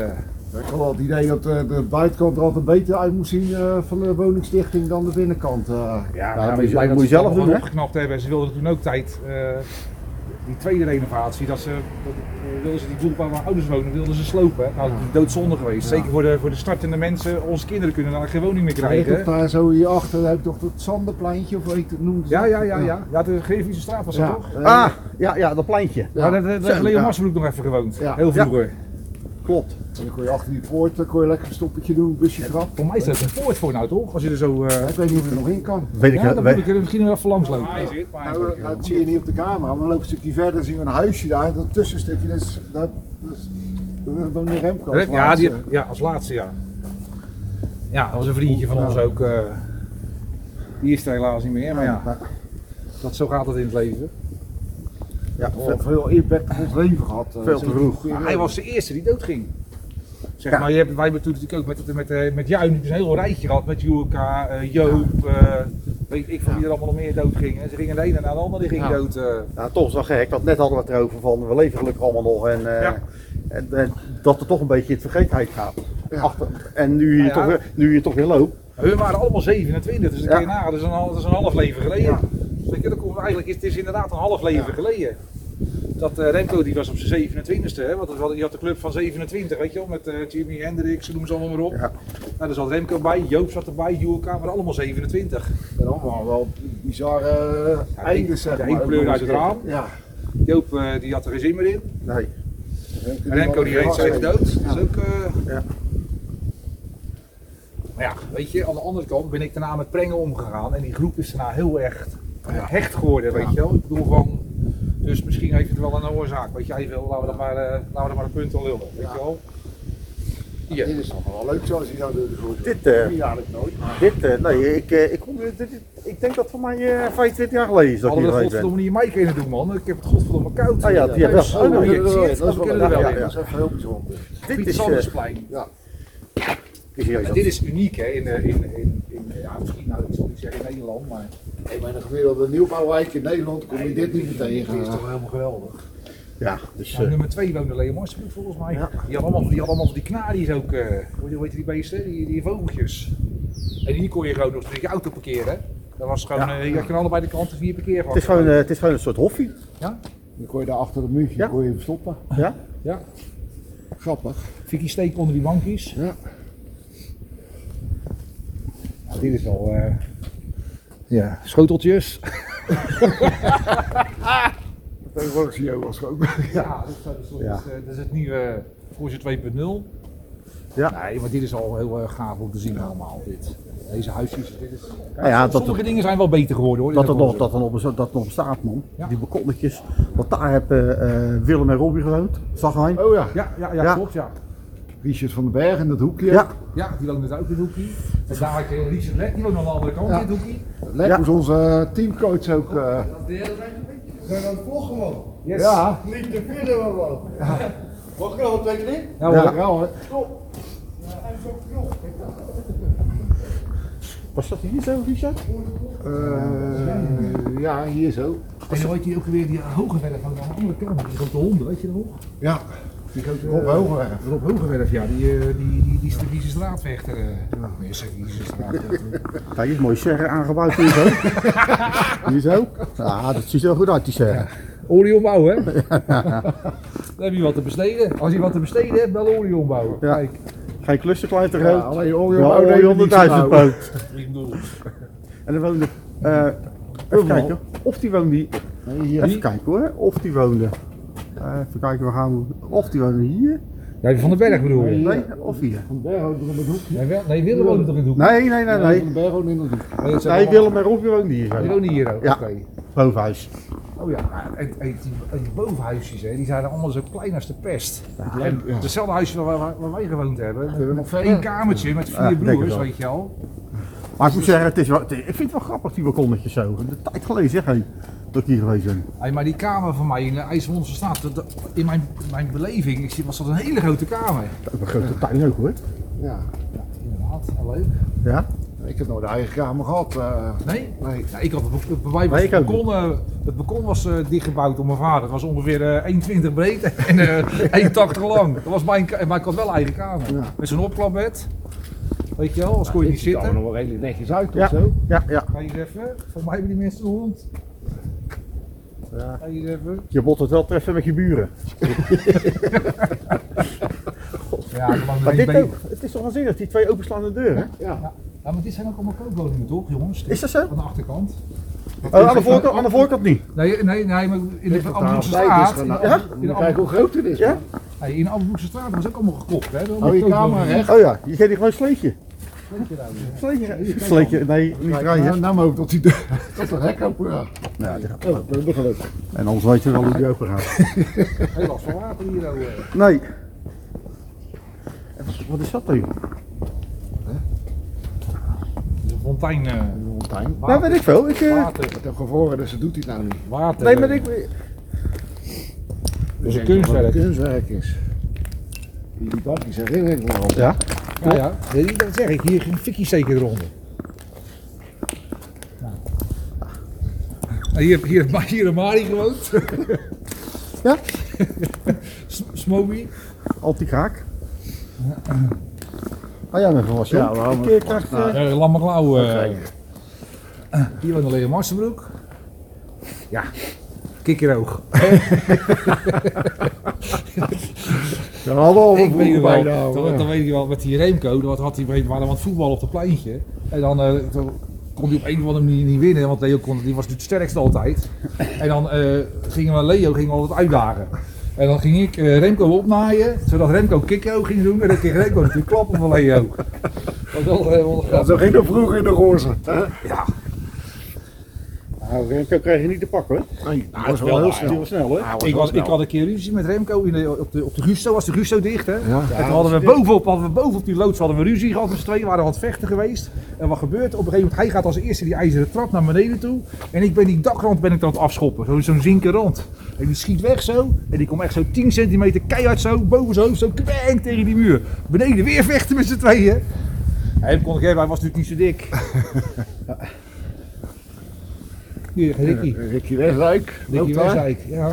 S2: Ik had wel het idee dat eh, de buitenkant er altijd beter uit moest zien eh, van de woningstichting dan de binnenkant. eh.
S4: Ja,
S3: Nou,
S4: nou,
S3: dat moet je-
S4: blij
S3: moet je
S4: ze
S3: zelf
S4: het allemaal
S3: doen, hè?
S4: opgeknapt hebben. Ze wilden toen ook tijd eh, die tweede renovatie, dat ze, dat, eh, wilden ze die boel waar mijn ouders wonen, wilden ze slopen. Nou, dat is doodzonde geweest.
S2: Ja.
S4: Zeker voor de, voor de startende mensen. Onze kinderen kunnen daar geen woning meer
S2: Kijk
S4: krijgen.
S2: op daar zo hierachter, heb je toch dat zanderpleintje of hoe heet het noemt?
S4: Ja, ja, ja, ja. Ja, de Grevische straat was dat
S2: Ja,
S4: toch?
S2: eh,
S3: Ah, ja, ja, dat pleintje.
S2: ja.
S4: Ja, daar daar heeft
S3: Zo,
S4: Leo
S3: ja.
S4: Marsbroek nog even gewoond.
S2: Ja.
S4: Heel vroeger.
S3: Klopt.
S2: En dan kon je achter die poort, dan kon je lekker een stoppetje doen, busje grap.
S4: Voor mij is dat een poort voor nou toch? Als je er zo... eh,
S2: Ik weet niet of je er nog in kan.
S3: Weet ik
S4: Ja, dan
S3: weet-
S4: moet ik er misschien wel even langs lopen.
S2: Nou, eh, dat zie je niet op de camera, maar dan loop een stukje verder zien we een huisje daar. Dat tussenstukje, dat is, dat, dat is, dat is dan de Remco. als
S4: Ja, die,
S2: laatste.
S4: ja, als laatste ja. Ja, dat was een vriendje van ons ook. eh, die is er helaas niet meer, maar ja, dat, zo gaat het in het leven.
S3: ja,
S2: Wel veel impact op ons leven gehad. eh,
S3: Veel te
S2: zeker.
S3: vroeg.
S2: Goeie
S4: Maar hij
S2: leven.
S4: was de eerste die doodging. Zeg
S3: Ja.
S4: maar, je hebt, wij hebben toen natuurlijk ook met, met, eh, met jou nu een heel rijtje gehad. Met Jurka, eh, Joop, eh, weet ik van wie er allemaal nog meer dood ging. En ze gingen de ene naar de andere ging
S2: Ja.
S4: dood. eh.
S3: Nou, toch is wel gek, want net hadden we het erover van we leven gelukkig allemaal nog en, eh,
S4: Ja.
S3: en, en dat er toch een beetje in het vergetenheid gaat.
S2: Ja.
S3: Achter, en nu je,
S4: Nou ja.
S3: toch, weer- nu je toch weer loopt,
S4: Hun waren allemaal 27, dus een
S3: Ja.
S4: keer na, dat is een, hal- dat is een half leven geleden.
S2: Ja.
S4: Dus ik- dat komt, eigenlijk is het is inderdaad een half leven
S2: Ja.
S4: geleden. Dat eh, Remco die was op zijn 27ste, hè, want dat was- die had de club van 27, weet je wel, met eh, Jimi Hendrix, noem ze allemaal maar op.
S3: Ja.
S4: Nou, daar zat Remco bij, Joop zat erbij, Juelka, maar allemaal 27.
S2: En allemaal wel bizarre
S4: Ja,
S2: eindes,
S4: de-
S2: zeg
S4: de
S2: maar.
S4: een pleurde uit het raam.
S2: Ja.
S4: Joop eh, die had er geen zin meer in.
S3: nee,
S4: Remco die reed zijn dood. Dat is ook. eh,
S3: Ja.
S4: Maar ja, weet je, aan de andere kant ben ik daarna met Prengen omgegaan en die groep is daarna heel erg hecht geworden, weet je wel. Ik bedoel van, dus misschien heeft het wel een oorzaak. Weet je, hij wil, laten we dat maar, eh, laten we dat maar een punt aan lullen, weet
S2: Ja.
S4: je wel.
S2: Ja. Dit is nog wel leuk zoals hij nou doet. de groep.
S3: Dit, eh,
S2: Zie je eigenlijk nooit. maar-
S3: dit, eh, nee, ik, eh, ik, kom, dit, dit- ik denk dat voor mij eh 25 jaar geleden is dat ik
S4: Hadden
S3: hier
S4: we
S3: geweest
S4: dat
S3: ben.
S4: godverdomme niet in mij kunnen doen, man. Ik heb het godverdomme koud.
S3: Ah ja, die hebben
S4: Zo
S3: we ook nog
S2: kunnen er wel Oh, in,
S4: geïnjecteerd,
S2: Dat is
S4: we
S2: wel
S4: kunnen er wel
S3: ja,
S4: in.
S2: dat is even heel bijzonder.
S3: Dit
S4: Piet
S3: is, eh,
S4: Sandersplein.
S2: Ja.
S3: is hier
S4: En
S3: dat-
S4: dit is uniek, hè, in, eh, in, in, in, ja, misschien, nou, ik zal niet zeggen in Nederland, maar...
S2: Hey, maar in een gemiddelde nieuwbouwwijk in Nederland kom je dit niet meer tegen.
S3: eh?
S4: Dit is toch helemaal geweldig.
S3: Ja, dus
S4: Nou,
S3: eh,
S4: nummer 2 woonde Leo Marsbroek volgens mij.
S3: Ja.
S4: Die had allemaal, die had allemaal van die knaries ook, eh, hoe hoe heet die beesten, die, die vogeltjes. En hier kon je gewoon nog je auto parkeren. Dat was gewoon,
S3: Ja.
S4: eh, je kan allebei de kanten vier
S3: het, is
S4: parkeervakken.
S3: gewoon, eh, het is gewoon een soort hoffie.
S2: Dan kon je daar achter het muurtje
S3: Ja.
S2: kon je hem stoppen.
S3: Ja?
S4: Ja,
S2: Grappig.
S4: Vicky steek onder die bankjes.
S2: Ja.
S4: Nou, dit is al, eh, ja, schoteltjes.
S2: *laughs* Tegenwoordig zie je was ook.
S4: Ja, dat is, dat is,
S3: Ja.
S4: dat is, eh, dat is het nieuwe Porsche 2.0.
S3: Ja.
S4: Nee, maar dit is al heel eh, gaaf om te zien allemaal. Dit. Deze huisjes, dit is...
S3: Nou ja, dat-
S4: Sommige dingen zijn wel beter geworden hoor. in
S3: Dat er
S4: het
S3: nog,
S4: Porsche.
S3: dat er nog, dat er nog bestaat, man.
S4: Ja.
S3: Die balkonnetjes. Want daar hebben eh, Willem en Robbie gewoond. Zagheim.
S2: Oh ja,
S4: Ja, ja, ja,
S3: Ja.
S4: klopt ja.
S2: Richard van den Berg in dat hoekje.
S3: Ja.
S4: Ja, die woonde daar ook in het hoekje. En daar had je Richard Lek, die woonde aan de andere kant
S2: Ja.
S4: in het hoekje.
S2: Lek
S3: Ja.
S2: was onze teamcoach ook. eh,
S5: zijn aan het vloggen, man.
S4: Yes.
S2: Ja,
S5: Niet te vinden, man. man. Mag ik nog een twee keer?
S4: Nou,
S2: ja.
S4: ja.
S2: ja hoor.
S3: Was dat hier zo, Richard?
S2: Eh, ja, hier zo.
S4: En dan had je ook weer die Hogewerf aan de andere kant, die grote honden, weet je nog?
S2: Ja,
S4: Die grote,
S2: Rob
S4: eh,
S2: Hogewerf.
S4: Rob Hogewerf, ja, die, eh, die, die, die, is de vieze straatvechter. eh. Nee, zeg, vieze straatvechter. *laughs*
S3: Kijk, is mooi serre aangebouwd hier zo. hier zo. Ja, dat ziet er wel goed uit, die serre.
S4: Orion bouwen, hè? Dan heb je wat te besteden. Als je wat te besteden hebt, bel Orion bouwen.
S3: Ja.
S4: Kijk,
S3: Geen klusterklein te
S2: Ja, oh,
S3: groot.
S2: alleen
S3: Ja,
S2: Orion Bouw deed er
S3: ja,
S2: niks aan.
S3: poot.
S4: ik bedoel,
S3: En dan woonde... eh even kijken. Of die woonde... hier-
S2: Nee, hier.
S3: Even kijken hoor. Of die woonde... eh, even kijken, we gaan... Of die woonde hier.
S4: jij van den Berg bedoel je?
S3: Nee, of hier.
S2: Van den Berg ook nog in dat hoekje.
S4: Nee, wel, nee Willem woont er in het hoek.
S3: Nee, nee, nee, nee.
S2: Van den Berg ook in dat hoekje.
S4: Nee, dat zijn
S3: Nee,
S4: allemaal-
S3: Willem en Rob woonde hier
S4: Die
S3: zo.
S4: wonen hier ook,
S3: Ja.
S4: oké.
S3: Bovenhuis.
S4: Oh ja, en, en die, en die bovenhuisjes, hè, die zijn allemaal zo klein als de pest. en hetzelfde huisje waar, waar, waar wij gewoond hebben.
S2: Kunnen we nog
S4: Eén
S2: verder?
S4: kamertje met vier
S3: Ja, ik denk
S4: broers,
S3: het wel.
S4: weet je al.
S3: Maar ik moet zeggen, het is wel, het- ik vind het wel grappig die balkonnetjes zo. De tijd geleden zeg hé, dat ik hier geweest ben.
S4: Hey, maar die kamer van mij in de IJsselmondse straat, dat- dat- in mijn, mijn beleving ik zie- was dat een hele grote kamer.
S3: Dat is een grote tuin ook hoor.
S2: Ja.
S4: Ja, inderdaad, wel leuk.
S3: Ja?
S2: Ik heb nooit de eigen kamer gehad. eh.
S4: Nee?
S2: nee.
S4: Nou, ik had het, be- bij mij was
S3: Nee, ik
S4: het,
S3: ook
S4: balkon, eh, het balkon was eh, dichtgebouwd door mijn vader. Het was ongeveer eh 1,20 breed *laughs* en eh 1,80 lang. Dat was mijn, ka- maar ik had wel eigen kamer.
S2: Ja.
S4: Met zo'n opklapbed. Weet je wel, als kon je niet
S2: ziet er
S4: zitten.
S2: nog wel redelijk netjes uit of
S3: Ja.
S2: zo.
S3: Ja, ja.
S4: Ga je eens even, volgens mij hebben die mensen een hond.
S3: Ja.
S4: Hey, eh, we-
S3: Je bot het wel treffen met je buren.
S4: Ja, maar,
S3: Maar
S4: ben-
S3: dit
S4: ben-
S3: ook. Het is toch waanzinnig, die twee openslaande deuren.
S4: Ja, maar dit zijn ook allemaal koopwoningen toch, jongens?
S3: Is dat zo?
S4: Aan de achterkant.
S3: Oh, aan, de voorkant, aan de voorkant niet.
S4: Nee, nee, nee, maar in de Amsterdamse
S2: dus
S4: straat. in de- in de
S2: Kijk eh, hoe groot het is.
S3: Ja?
S2: man.
S4: Hey, in de Amsterdamse straat was ook allemaal gekocht, hè?
S2: Hou je camera recht.
S3: Oh ja, je geeft die gewoon sleetje. Sleetje. Sleetje, nee, niet
S2: Kijk, nou,
S3: draaien.
S2: nou maar ook tot die deur. Tot de *laughs* hek open gaat.
S3: Ja, die gaat-
S2: Oh, dat is gelukkig.
S3: en anders weet je wel hoe die open gaat.
S4: Heel last van water hier. oh, eh.
S3: Nee. Wat is dat dan? joh?
S4: Het is een fontein. eh,
S2: Montijn.
S3: Nou, weet ik veel. Ik, eh,
S4: Water.
S2: Ik heb gevroren, dus ze doet hij nou niet.
S4: Water.
S3: nee, maar ik...
S4: Dat is een
S2: Wat een
S4: kunstwerk.
S2: kunstwerk is. Die bakjes herinner ik me al.
S3: Ja?
S4: Ja, ja. Weet je, Dat zeg ik. Hier ging fikkie zeker eronder. Nou. Nou, Hier, hier, hier een Mari gewoond.
S3: Ja?
S4: *laughs* S- Smoby.
S3: Anti-kraak. Ah ja, dat was
S2: Ja, Nou,
S3: ja.
S2: we hadden
S3: Ik eh, krijg... eh,
S4: Uh, Lamme Klauw. eh. hier woont alleen Marsenbroek. Ja. Kikkeroog.
S2: Ze hadden
S3: Oh,
S2: al
S4: Ik
S2: een
S4: weet het
S2: boel
S4: wel.
S2: bijna.
S3: nou,
S2: al,
S4: Dan,
S2: ja.
S4: dan weet je wel, met die Remco, dat had hij, we waren aan het voetbal op het pleintje. En dan, eh, dan kon hij op een of andere manier niet winnen, want Leo kon, die was het sterkste altijd. En dan eh, gingen we Leo ging altijd uitdagen. En dan ging ik eh, Remco opnaaien, zodat Remco kikko ging doen. En dan kreeg Remco natuurlijk klappen van Leo. Dat was wel, eh, wel
S2: Ja,
S4: grappig.
S2: Zo ging dat vroeger in de gozer.
S4: Ja,
S3: Nou, Remco krijg je niet te pakken hoor.
S2: Nee, dat
S4: het
S2: was
S4: is
S2: wel
S4: wel
S2: heel
S4: waar.
S2: snel.
S3: Die was snel Nou, hè.
S4: ik, was, ik had een keer ruzie met Remco in de, op, de, op de Gusto, was de Gusto dicht hè.
S2: Ja.
S4: En toen hadden we bovenop, hadden we bovenop die loods hadden we ruzie gehad met z'n tweeën, waren we aan het vechten geweest. En wat gebeurt? er? Op een gegeven moment, hij gaat als eerste die ijzeren trap naar beneden toe. En ik ben die dakrand ben ik dan aan het afschoppen, Zo- zo'n zinken rand. En die schiet weg zo, en die komt echt zo 10 centimeter keihard zo, boven zijn hoofd zo, kweng tegen die muur. Beneden weer vechten met z'n tweeën. Hij kon ik hebben, hij was natuurlijk niet zo dik. Hier, Ricky.
S3: eh,
S2: Ricky Westdijk.
S4: Dickie
S2: loopt daar.
S4: Westdijk, ja.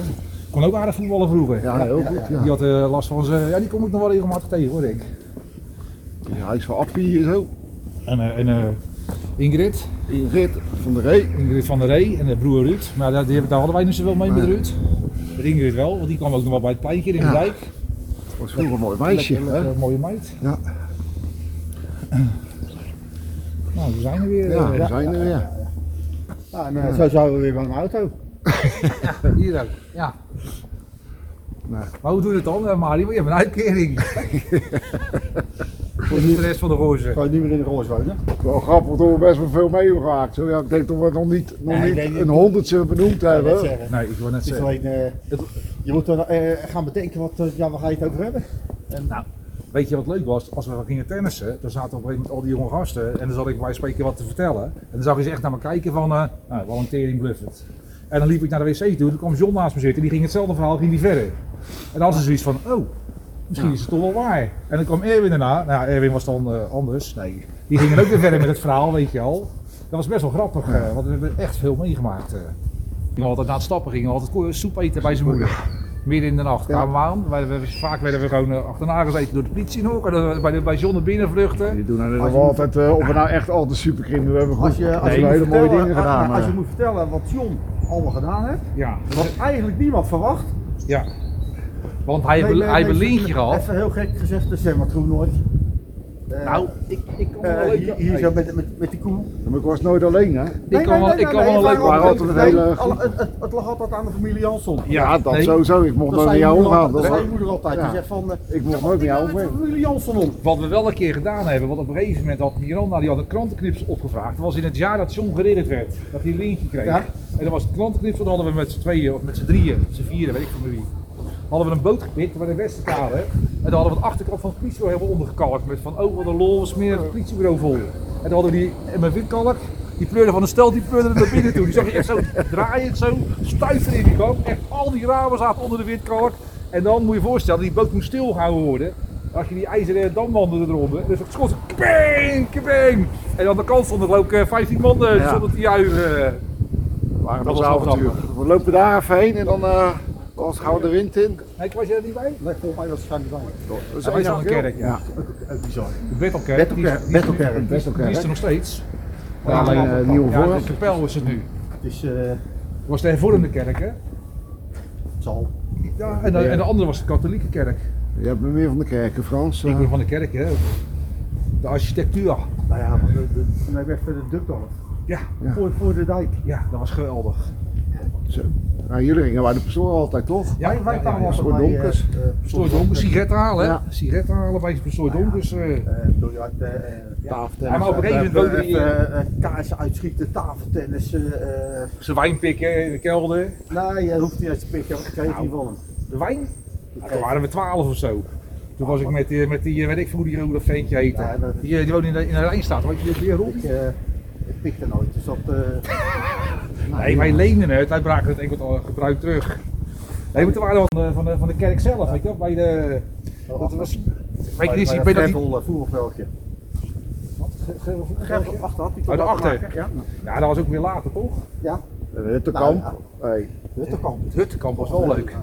S4: Kon ook aardig voetballen vroeger.
S2: Ja, heel goed. Ja.
S4: Die had eh, last van zijn... Ja, die kom ik nog wel regelmatig tegen hoor, ik. eh.
S2: Ja, hij is van Appie hier zo.
S4: En, eh, en eh, Ingrid.
S2: Ingrid van der Ree.
S4: Ingrid van der Ree en de broer Ruud. Maar daar, die- daar hadden wij niet zoveel mee met Ruud. Met Ingrid wel, want die kwam ook nog wel bij het pleintje in de
S2: Ja.
S4: dijk.
S2: Was vroeger een mooi meisje.
S4: Lekker, lekker,
S2: Hè?
S4: mooie meid.
S2: Ja.
S4: *clears throat* Nou, we zijn er weer.
S2: Ja,
S4: eh,
S2: we zijn er weer.
S3: Ja, en, eh, Zo zouden we weer bij een auto.
S4: Hier ook, ja. Maar hoe doe je het dan, eh, Mario? Je hebt een
S2: *laughs*
S4: uitkering. Voor de rest van de roze.
S3: Kan je niet meer in de roos wonen.
S2: Wel grappig dat we best wel veel mee hebben gemaakt. Zo, ja, ik denk dat we nog niet, nog
S3: Nee, ik
S2: niet
S3: denk niet.
S2: een honderdste benoemd
S3: dat
S2: hebben.
S3: zeggen.
S4: Nee, ik wil net
S3: Het is
S4: zeggen.
S3: alleen, eh, het- je moet dan eh, gaan bedenken wat, eh, ja, waar ga je het over hebben.
S4: Nou, weet je wat leuk was? Als we gingen tennissen, dan zaten op een gegeven moment al die jonge gasten en dan zat ik bij spreken wat te vertellen. En dan zag je ze echt naar me kijken van, eh nou, wel een tering bluffend. En dan liep ik naar de wc toe, toen kwam John naast me zitten, die ging hetzelfde verhaal, ging die verder. En dan hadden ze zoiets van, oh, misschien is het toch wel waar. En dan kwam Erwin daarna, nou ja, Erwin was dan eh, anders, nee. Die ging dan ook weer verder met het verhaal, weet je al. Dat was best wel grappig, eh, want we hebben echt veel meegemaakt. eh. We gingen altijd na het stappen, gingen we altijd ko- soep eten bij zijn moeder. Midden in de nacht kwamen we aan. Wij- we- vaak werden we gewoon eh, achterna gezeten door de politie nog. En dan bij, de- bij John naar binnen vluchten.
S2: Die doen nou net of we altijd, eh, of we nou echt al de superkinderen hebben
S3: Als je,
S2: goed-
S3: als je
S2: hebben
S3: moet
S2: hele mooie
S3: vertellen-
S2: dingen
S3: als-
S2: gedaan.
S3: Als je
S2: eh.
S3: moet vertellen wat John allemaal gedaan heeft,
S4: Ja,
S3: wat eigenlijk niemand verwacht.
S4: ja. Want hij heeft
S3: Nee,
S4: een-
S3: nee,
S4: hij heeft een
S3: nee,
S4: lintje gehad.
S3: Even heel gek gezegd, dat zijn we toen nooit. Eh,
S4: Nou, ik, ik kan
S3: eh,
S4: wel
S3: hier, hier zo met, met, met die koe.
S2: Maar ik was nooit alleen, hè?
S4: Ik kan wel ik kan wel een
S3: het
S4: leuk
S2: waren
S4: verhaal.
S2: altijd een hele
S3: nee, alle-
S2: groep.
S3: het, het, het lag altijd aan de familie Jansson.
S2: Ja, dat
S4: nee.
S2: sowieso. Ik mocht
S3: Dat
S2: nooit
S3: zei
S2: met
S3: je
S2: jou
S3: moeder
S2: omgaan.
S3: altijd- dat
S2: dat-
S3: zei je moeder altijd.
S2: Ja.
S3: Die zegt van, eh,
S2: Ik mocht
S3: wat
S2: ook niet
S3: die nou
S2: aan
S3: met de
S2: omgaan.
S3: familie Jansson om.
S4: Wat we wel een keer gedaan hebben, want op een gegeven moment had Miranda die had een krantenknips opgevraagd. Dat was in het jaar dat John geridderd werd, dat hij een lintje kreeg.
S3: Ja.
S4: En dat was het krantenknips, dat hadden we met z'n tweeën of met z'n drieën, z'n vieren, weet ik van wie. Hadden we een boot gepikt bij de Westenkade. En dan hadden we de achterkant van het politiebureau helemaal ondergekalkt. Met van, oh wat een lol, we smeren het politiebureau vol. En dan hadden we die, en mijn witkalk, die pleurde van de stel, die pleurde naar binnen toe. Die zag je echt zo draaien, zo stuiven in die boot. Echt al die ramen zaten onder de witkalk. En dan moet je je voorstellen, die boot moest stilgehouden worden. Dan had je die ijzeren damwanden eronder. Dus het schot, kabang, kabang. En aan de kant stonden geloof ik eh, 15 man eh,
S2: Ja.
S4: stonden te juichen.
S2: waren onze
S4: Dat was wel
S2: avonturen. We lopen daar even heen en dan eh, als gaan we de wind in.
S4: Nee, was je er niet bij?
S3: Nee, volgens mij was het schijnbaar niet
S2: Dat
S4: Dat is al een kerk, ja.
S2: Ja,
S3: Ook bizar.
S4: De Bettelkerk. die is-
S3: Battle-
S4: die is-
S3: Battlecarrot.
S2: best wel
S4: Die is
S2: kerk.
S4: er nog steeds.
S2: Ja, alleen, eh, Nieuwe
S4: ja,
S2: Voorst.
S4: de kapel is het nu.
S3: Het is, eh,
S4: Het was de hervormde kerk, hè?
S3: zal.
S4: Ja, en, de, en de andere was de katholieke kerk.
S2: Je hebt me meer van de kerken, Frans.
S4: Ik
S2: eh.
S4: ben van de kerk, hè. De architectuur.
S3: Nou ja, maar de, de, nee, weg voor de Dukdorp.
S4: Ja,
S2: Ja.
S3: Voor, voor de dijk.
S4: ja, dat was geweldig.
S2: Nou, jullie gingen bij de pastoor altijd, toch?
S4: Ja,
S3: wij, wij
S4: ja,
S3: kwamen
S4: ja,
S3: altijd
S2: voor
S3: bij,
S2: donkers.
S3: eh, eh,
S4: Pastoor Donkers, sigaretten halen, hè.
S2: Ja.
S4: Sigaretten halen bij Pastoor Donkers. eh.
S3: eh, biljart, eh, eh, ja.
S4: Ja, maar op een gegeven moment
S3: Even,
S4: wilde hij, eh,
S3: even, eh, kaarsen uitschieten, tafeltennis. eh, eh,
S4: Zijn wijn pikken in de kelder.
S3: nee, je hoeft niet uit te pikken, want ik kreeg
S4: Nou.
S3: niet van hem.
S4: De wijn? Ja, toen waren we twaalf of zo. Toen was ik met, die- met die, eh, weet ik veel hoe die rode ventje heette.
S3: Ja, dat-
S4: die, eh, die woonde in de, in de Rijnstaat, weet je die weer rond?
S3: Ik, eh, ik pikte nooit, dus dat...
S4: *laughs*
S3: eh, Nou,
S4: Nee, wij leenden het, wij braken het enkel al gebruik terug. Nee, maar toen waren we van de, van de, van de kerk zelf, weet je wel, bij de... Dat was, weet je, die, ik weet dat die,
S3: eh, voerveldje. Achter had hij toch
S4: Oh, de
S3: wat
S4: achter.
S3: te maken? Ja,
S4: ja, dat was ook weer later, toch?
S3: ja.
S4: Eh,
S2: Huttenkamp.
S3: Nou,
S2: Hey.
S3: Huttenkamp.
S4: Het Huttenkamp was wel leuk.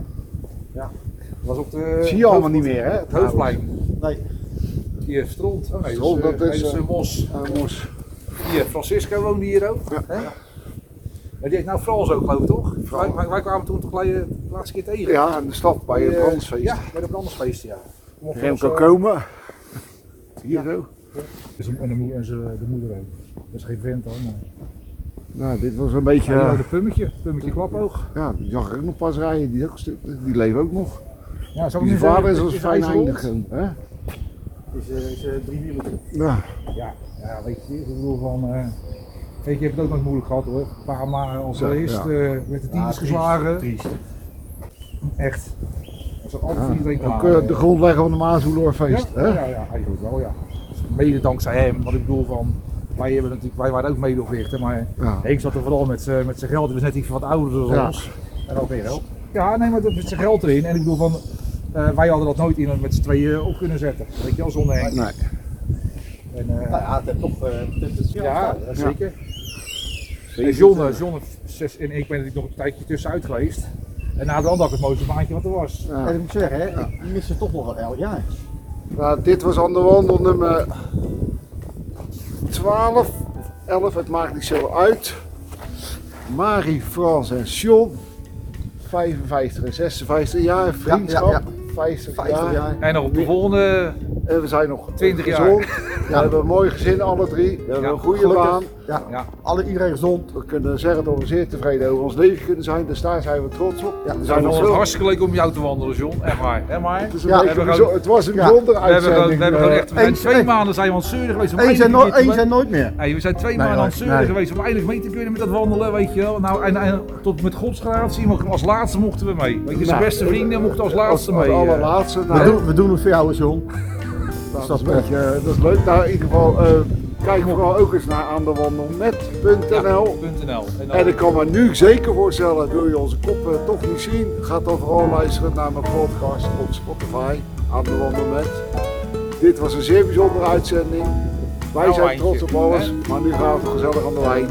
S4: Ja, dat was op de...
S2: Zie je allemaal niet meer, hè?
S4: Het Hoofdplein.
S3: Nee,
S4: Hier, Stront. Oh, nee,
S2: Stront,
S4: dat is,
S2: dat
S4: eh,
S2: is,
S4: nee, dat is, eh, Mos.
S2: Eh, Mos.
S4: Hier, Francisco woonde hier ook.
S2: Ja.
S4: Hè? Maar die heet nou Frans ook, geloof ik, toch? Wij, wij- wij kwamen toen toch gelijk, eh, de laatste keer tegen.
S2: Ja, in de stad bij het
S4: Eh,
S2: brandfeest.
S4: Ja, bij de brandsfeest, ja. eh,
S2: Remco Komen. Hier zo.
S4: Dus En de, moeder, en ze- de moeder ook. Dat is geen vent hoor. maar-
S2: Nou, dit was een beetje...
S4: Ja.
S2: eh,
S4: de pummetje, pummetje klapoog.
S2: ja, die zag ik ook nog pas rijden. Die, is ook een stuk- die leeft ook nog.
S4: Oh, Ja, zou ik
S2: Die
S4: nu
S2: vader
S4: zeggen,
S2: is als
S4: hij
S2: fijn
S4: rond?
S2: eindig. Hè?
S3: is, eh, is eh, drie wielen.
S2: Ja.
S4: Ja, ja, weet je, ik bedoel van... eh ik heb het ook nog moeilijk gehad hoor. Een paar maanden als
S2: Ja,
S4: eerst
S2: ja.
S4: eh, werd de tieners geslagen.
S3: Triest.
S4: Echt. Dat is altijd iedereen
S2: Ook
S4: klaar,
S2: eh,
S4: hè.
S2: de grondlegger van de Maashoeloorfeest.
S4: Ja,
S2: hè?
S4: ja, ja, eigenlijk wel, ja. Mede dankzij hem, want ik bedoel van, wij, hebben natuurlijk, wij waren ook medeoprichter, maar
S2: Ja.
S4: ik zat er vooral met, z'n- met zijn geld, hij was net iets wat ouder dan
S2: Ja.
S4: ons. En ook weer wel. Ja, nee, maar dat met zijn geld erin. En ik bedoel van, eh, wij hadden dat nooit in met z'n tweeën op kunnen zetten. Weet je wel, zonder Henk.
S2: Nee.
S4: En, eh,
S3: Nou ja, het heeft toch... eh, het heeft het
S4: ja,
S3: zelf gedaan, hè.
S4: ja, zeker. En John, eh, John heeft zes, en ik ben natuurlijk nog een tijdje tussenuit geweest. En na de had ik het mooiste baantje wat er was.
S2: Ja.
S3: En ik moet zeggen, hè, ik mis ze toch nog wel elk jaar.
S2: Nou, dit was aan de wandel nummer 12 of 11, het maakt niet zo uit. Marie, Frans en Sean, 55 en 56 jaar, vriendschap,
S3: ja.
S2: 50,
S3: 50
S2: jaar.
S3: jaar.
S4: En op de volgende,
S2: En we zijn nog
S4: 20 jaar. *laughs*
S2: gezond. We hebben een mooi gezin, alle drie. We hebben
S4: Ja,
S2: een goede
S3: Gelukkig.
S2: baan.
S3: Ja.
S4: ja,
S3: Alle iedereen gezond.
S2: We kunnen zeggen dat we zeer tevreden over ons leven kunnen zijn, dus daar zijn we trots op.
S3: Ja,
S2: we
S4: Ik
S2: zijn
S4: vond
S2: nog
S4: het
S2: zo.
S4: hartstikke leuk om jou te wandelen, John. Echt waar. Echt waar.
S2: Het, is een
S3: Ja,
S2: beetje
S4: we hebben
S2: bijzo-
S4: gewoon-
S2: het was een
S3: Ja.
S2: bijzondere
S4: We hebben gewoon,
S2: uitzending.
S4: we hebben gewoon
S2: eh,
S4: echt, we zijn
S3: Eens-
S4: twee
S3: eens-
S4: maanden zijn we aan het zeuren geweest om
S3: Eens en,
S4: eindelijk
S3: nooit,
S4: mee te
S3: eens en
S4: kunnen-
S3: nooit meer.
S4: Hey, we zijn twee
S3: Nee,
S4: maanden aan het
S3: nee,
S4: zeuren
S3: nee.
S4: geweest om eindelijk mee te kunnen met dat wandelen, weet je wel. Nou, en, en tot met godsgratie, maar als laatste mochten we mee. Weet je, zijn
S2: Nou,
S4: beste vrienden mochten als laatste
S2: als
S4: mee. eh.
S2: allerlaatste.
S3: We
S2: nou,
S3: doen, we doen het voor jou, John.
S2: Nou, dat, is een beetje, eh, dat is leuk. Nou, in ieder geval, eh, kijk vooral ook eens naar aandewandelnet.nl.
S4: .nl. En dan-
S2: En ik kan me nu zeker voorstellen, wil je onze kop eh, toch niet zien, ga dan vooral luisteren naar mijn podcast op Spotify, Aan de Wandelnet. Dit was een zeer bijzondere uitzending. Wij
S4: Nou,
S2: zijn
S4: eindje,
S2: trots op alles,
S4: hè?
S2: maar nu gaan we gezellig aan de wijn.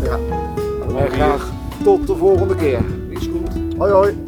S2: En wij graag tot de volgende keer.
S4: is goed.
S3: Hoi hoi.